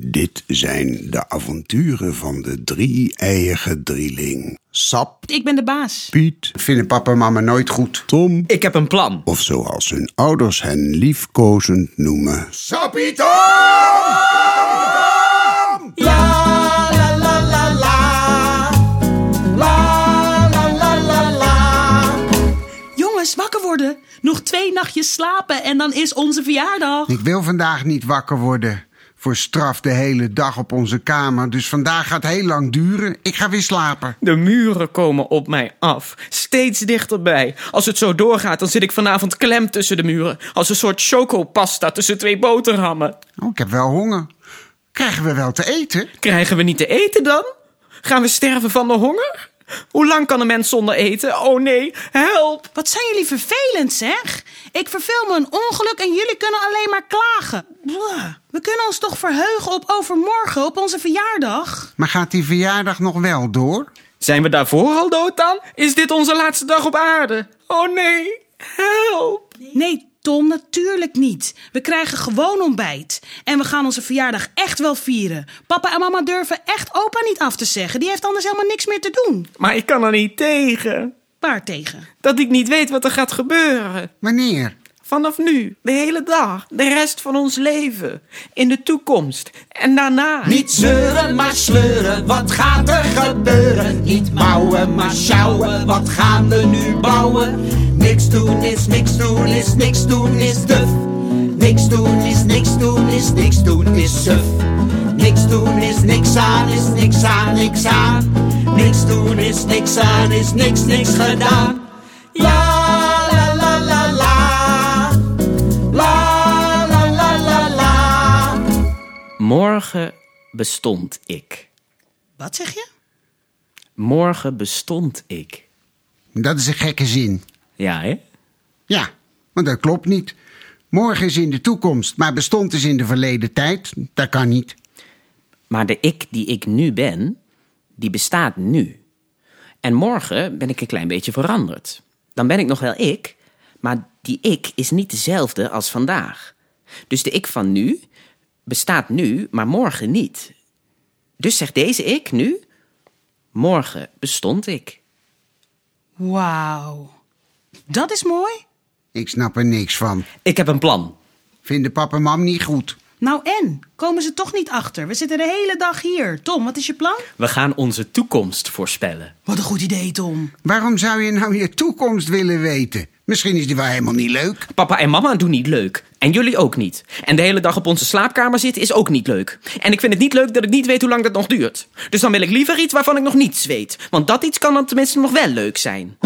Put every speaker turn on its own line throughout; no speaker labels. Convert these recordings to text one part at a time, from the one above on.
Dit zijn de avonturen van de drie-eiige drieling. Sap,
Ik ben de baas.
Piet, vinden papa en mama nooit goed. Tom,
Ik heb een plan.
of zoals hun ouders hen liefkozend noemen. Sapito!
Jongens, wakker worden. Nog twee nachtjes slapen en dan is onze verjaardag.
Ik wil vandaag niet wakker worden. Voor straf de hele dag op onze kamer. Dus vandaag gaat heel lang duren. Ik ga weer slapen.
De muren komen op mij af. Steeds dichterbij. Als het zo doorgaat, dan zit ik vanavond klem tussen de muren. Als een soort chocopasta tussen twee boterhammen.
Oh, ik heb wel honger. Krijgen we wel te eten?
Krijgen we niet te eten dan? Gaan we sterven van de honger? Hoe lang kan een mens zonder eten? Oh nee, help!
Wat zijn jullie vervelend, zeg? Ik verveel me een ongeluk en jullie kunnen alleen maar klagen. Blah. We kunnen ons toch verheugen op overmorgen, op onze verjaardag?
Maar gaat die verjaardag nog wel door?
Zijn we daarvoor al dood dan? Is dit onze laatste dag op aarde? Oh nee, help!
Nee, Tom, natuurlijk niet. We krijgen gewoon ontbijt. En we gaan onze verjaardag echt wel vieren. Papa en mama durven echt opa niet af te zeggen. Die heeft anders helemaal niks meer te doen.
Maar ik kan er niet tegen.
Waar tegen?
Dat ik niet weet wat er gaat gebeuren.
Wanneer?
Vanaf nu, de hele dag, de rest van ons leven, in de toekomst en daarna.
Niet zeuren, maar sleuren, wat gaat er gebeuren? Niet mouwen, maar sjouwen, wat gaan we nu bouwen? Niks doen is niks doen is niks doen is duf. Niks doen is niks doen is niks doen is suf. Niks doen is niks aan is niks aan niks aan. Niks doen is niks aan is niks niks gedaan. La la la la la. La la la la la.
Morgen bestond ik.
Wat zeg je?
Morgen bestond ik.
Dat is een gekke zin.
Ja, hè?
Ja, want dat klopt niet. Morgen is in de toekomst, maar bestond is in de verleden tijd. Dat kan niet.
Maar de ik die ik nu ben, die bestaat nu. En morgen ben ik een klein beetje veranderd. Dan ben ik nog wel ik, maar die ik is niet dezelfde als vandaag. Dus de ik van nu bestaat nu, maar morgen niet. Dus zegt deze ik nu, morgen bestond ik.
Wauw. Dat is mooi.
Ik snap er niks van.
Ik heb een plan.
Vinden pap en mam niet goed.
Nou en? Komen ze toch niet achter? We zitten de hele dag hier. Tom, wat is je plan?
We gaan onze toekomst voorspellen.
Wat een goed idee, Tom.
Waarom zou je nou je toekomst willen weten? Misschien is die wel helemaal niet leuk.
Papa en mama doen niet leuk. En jullie ook niet. En de hele dag op onze slaapkamer zitten is ook niet leuk. En ik vind het niet leuk dat ik niet weet hoe lang dat nog duurt. Dus dan wil ik liever iets waarvan ik nog niets weet. Want dat iets kan dan tenminste nog wel leuk zijn.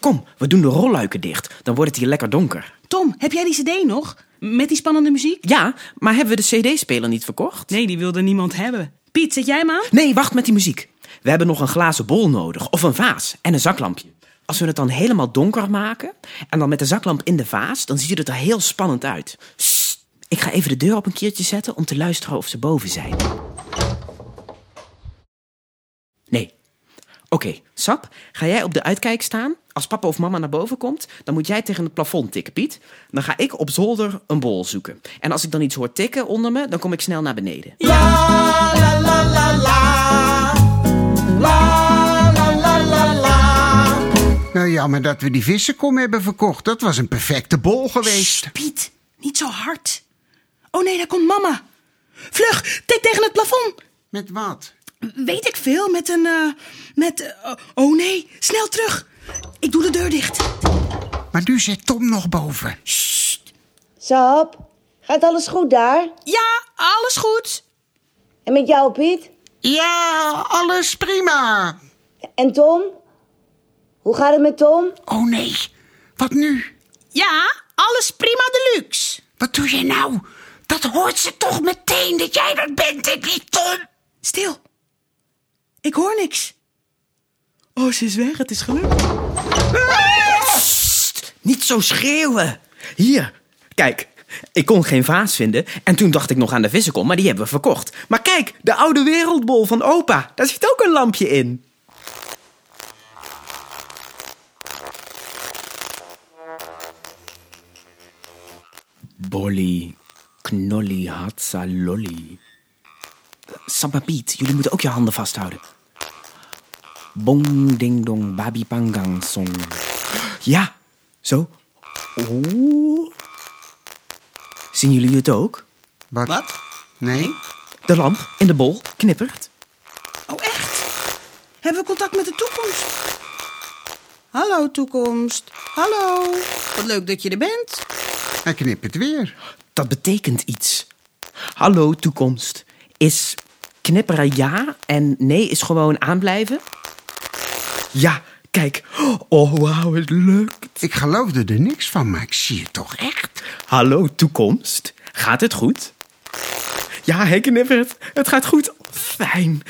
Kom, we doen de rolluiken dicht. Dan wordt het hier lekker donker.
Tom, heb jij die cd nog? Met die spannende muziek?
Ja, maar hebben we de cd-speler niet verkocht?
Nee, die wilde niemand hebben. Piet, zet jij hem aan?
Nee, wacht met die muziek. We hebben nog een glazen bol nodig, of een vaas en een zaklampje. Als we het dan helemaal donker maken en dan met de zaklamp in de vaas, dan ziet het er heel spannend uit. Sst, ik ga even de deur op een keertje zetten om te luisteren of ze boven zijn. Nee. Oké, Sap, ga jij op de uitkijk staan? Als papa of mama naar boven komt, dan moet jij tegen het plafond tikken, Piet. Dan ga ik op zolder een bol zoeken. En als ik dan iets hoor tikken onder me, dan kom ik snel naar beneden.
La la la la la. La la la la la.
Nou, jammer dat we die vissenkom hebben verkocht. Dat was een perfecte bol geweest.
Sst, Piet, niet zo hard. Oh nee, daar komt mama. Vlug, tik tegen het plafond.
Met wat?
Weet ik veel, met een... eh, met... eh, oh nee, snel terug. Ik doe de deur dicht.
Maar nu zit Tom nog boven.
Sap, gaat alles goed daar?
Ja, alles goed.
En met jou, Piet?
Ja, alles prima.
En Tom? Hoe gaat het met Tom?
Oh nee, wat nu?
Ja, alles prima deluxe.
Wat doe je nou? Dat hoort ze toch meteen dat jij dat bent en niet Tom?
Stil. Ik hoor niks. Oh, ze is weg. Het is gelukt.
Niet zo schreeuwen. Hier, kijk. Ik kon geen vaas vinden en toen dacht ik nog aan de vissenkom, maar die hebben we verkocht. Maar kijk, de oude wereldbol van opa, daar zit ook een lampje in. Bolly, knolly, hatsa, lolly. Sappa Piet, jullie moeten ook je handen vasthouden. Bong, ding, dong, babi, pangang, song. Ja, zo. Oeh. Zien jullie het ook?
Wat?
Wat?
Nee?
De lamp in de bol knippert.
Oh, echt? Hebben we contact met de toekomst? Hallo, toekomst. Hallo. Wat leuk dat je er bent.
Hij knipt het weer.
Dat betekent iets. Hallo toekomst. Is knipperen ja en nee is gewoon aanblijven? Ja, kijk. Oh, wauw, het lukt.
Ik geloofde er niks van, maar ik zie het toch echt.
Hallo toekomst. Gaat het goed? Ja, hij knippert. Het gaat goed. Fijn.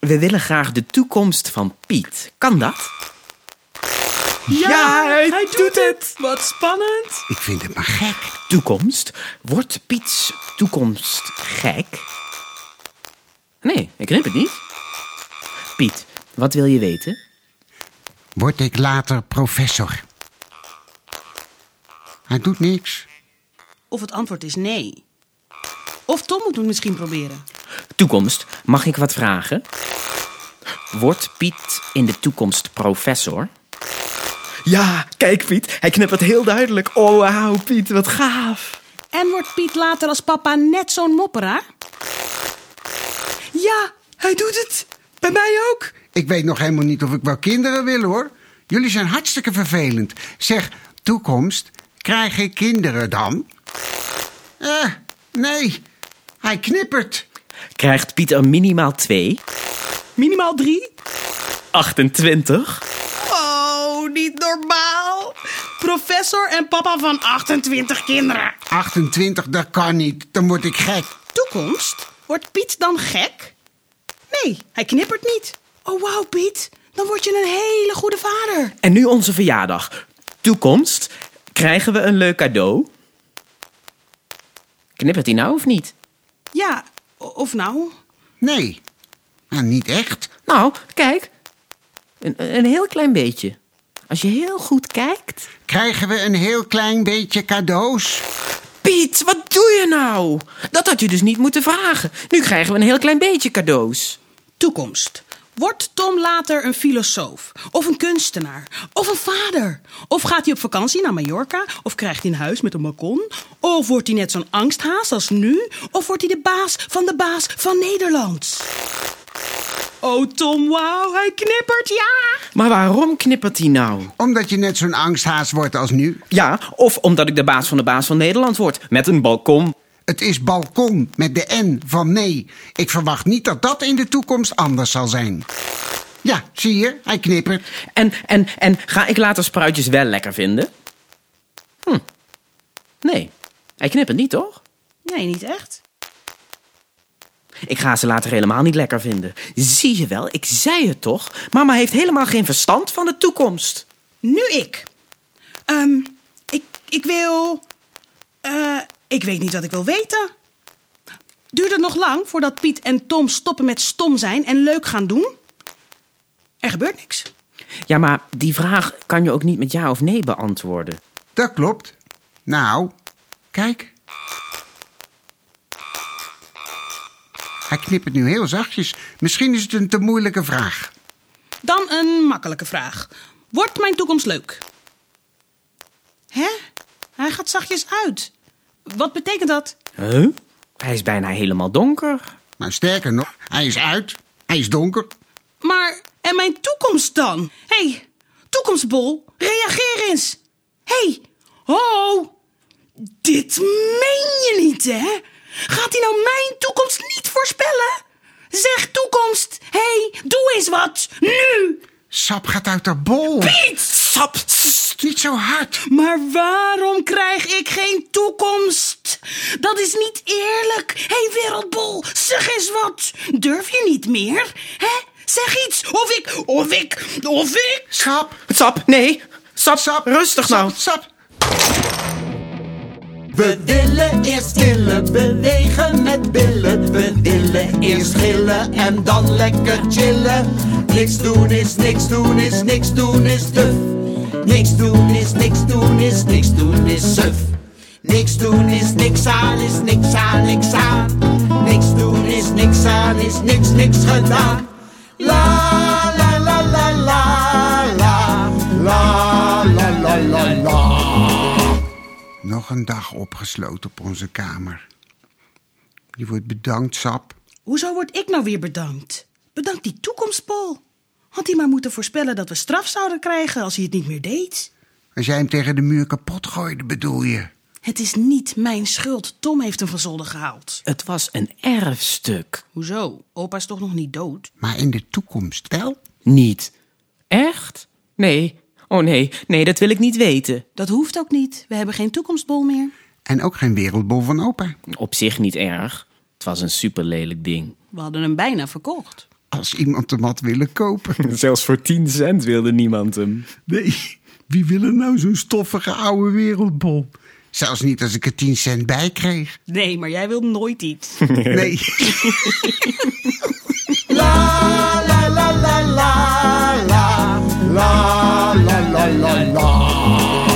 We willen graag de toekomst van Piet. Kan dat? Ja, hij doet het.
Wat spannend.
Ik vind het maar gek.
toekomst? Wordt Piets toekomst gek? Nee, ik knip het niet. Piet, wat wil je weten?
Word ik later professor? Hij doet niks.
Of het antwoord is nee. Of Tom moet het misschien proberen.
Toekomst, mag ik wat vragen? Wordt Piet in de toekomst professor? Ja, kijk Piet, hij knippert heel duidelijk. Oh, wauw Piet, wat gaaf.
En wordt Piet later als papa net zo'n mopperaar? Ja, hij doet het. Bij mij ook.
Ik weet nog helemaal niet of ik wel kinderen wil, hoor. Jullie zijn hartstikke vervelend. Zeg, toekomst, krijg ik kinderen dan? Eh, nee. Hij knippert.
Krijgt Piet er minimaal twee? Minimaal drie? 28?
Oh, niet normaal. Professor en papa van 28 kinderen.
28, dat kan niet. Dan word ik gek.
Toekomst? Wordt Piet dan gek? Nee, hij knippert niet. Oh, wauw, Piet. Dan word je een hele goede vader.
En nu onze verjaardag. Toekomst. Krijgen we een leuk cadeau? Knippert hij nou of niet?
Ja, o- of nou?
Nee. Nou, niet echt.
Nou, kijk. Een, een heel klein beetje. Als je heel goed kijkt.
Krijgen we een heel klein beetje cadeaus?
Piet, wat doe je nou? Dat had je dus niet moeten vragen. Nu krijgen we een heel klein beetje cadeaus.
Toekomst. Wordt Tom later een filosoof? Of een kunstenaar? Of een vader? Of gaat hij op vakantie naar Mallorca? Of krijgt hij een huis met een balkon? Of wordt hij net zo'n angsthaas als nu? Of wordt hij de baas van de baas van Nederland? Oh, Tom, wauw, hij knippert, ja!
Maar waarom knippert hij nou?
Omdat je net zo'n angsthaas wordt als nu.
Ja, of omdat ik de baas van de baas van Nederland word. Met een balkon.
Het is balkon met de N van nee. Ik verwacht niet dat dat in de toekomst anders zal zijn. Ja, zie je, hij knippert.
En, en, en ga ik later spruitjes wel lekker vinden? Hm. Nee, hij knippert niet, toch?
Nee, niet echt.
Ik ga ze later helemaal niet lekker vinden. Zie je wel, ik zei het toch? Mama heeft helemaal geen verstand van de toekomst.
Nu ik. Ehm, ik, ik wil. eh, ik weet niet wat ik wil weten. Duurt het nog lang voordat Piet en Tom stoppen met stom zijn en leuk gaan doen? Er gebeurt niks.
Ja, maar die vraag kan je ook niet met ja of nee beantwoorden.
Dat klopt. Nou, kijk. Hij knippert nu heel zachtjes. Misschien is het een te moeilijke vraag.
Dan een makkelijke vraag: Wordt mijn toekomst leuk? Hè? Hij gaat zachtjes uit. Wat betekent dat?
Huh? Hij is bijna helemaal donker.
Maar sterker nog, hij is uit. Hij is donker.
Maar, en mijn toekomst dan? Hé, hey, toekomstbol, reageer eens. Hé, hey, ho, dit meen je niet, hè? Gaat hij nou mijn toekomst niet voorspellen? Zeg toekomst, hé, hey, doe eens wat, nu!
Sap gaat uit de bol.
Sap!
Niet zo hard.
Maar waarom krijg ik geen toekomst? Dat is niet eerlijk. Hé, hey, wereldbol, zeg eens wat. Durf je niet meer? Hè? Zeg iets, of ik, of ik, of ik...
Sap.
Sap, nee! Sap,
Sap.
rustig nou!
Sap.
We willen eerst chillen, bewegen met billen. We willen eerst gillen en dan lekker chillen. Niks doen is niks doen is niks doen is duf. Niks doen is niks doen is niks doen is suf. Niks doen is niks aan, is niks aan, niks aan. Niks doen is niks aan, is niks, niks gedaan. La la la la la la la la la la la.
Nog een dag opgesloten op onze kamer. Je wordt bedankt, Sap.
Hoezo word ik nou weer bedankt? Bedankt die toekomstpol. Had hij maar moeten voorspellen dat we straf zouden krijgen als hij het niet meer deed.
Als jij hem tegen de muur kapot gooide, bedoel je?
Het is niet mijn schuld. Tom heeft hem van zolder gehaald.
Het was een erfstuk.
Hoezo? Opa is toch nog niet dood?
Maar in de toekomst wel?
Niet. Echt? Nee. Oh nee, nee, dat wil ik niet weten.
Dat hoeft ook niet. We hebben geen toekomstbol meer.
En ook geen wereldbol van opa.
Op zich niet erg. Het was een superlelijk ding.
We hadden hem bijna verkocht.
Als iemand hem had willen kopen.
Zelfs voor 10 cent wilde niemand hem.
Nee, wie wil er nou zo'n stoffige oude wereldbol? Zelfs niet als ik er 10 cent bij kreeg.
Nee, maar jij wil nooit iets.
Nee.
La la la la la la la la la.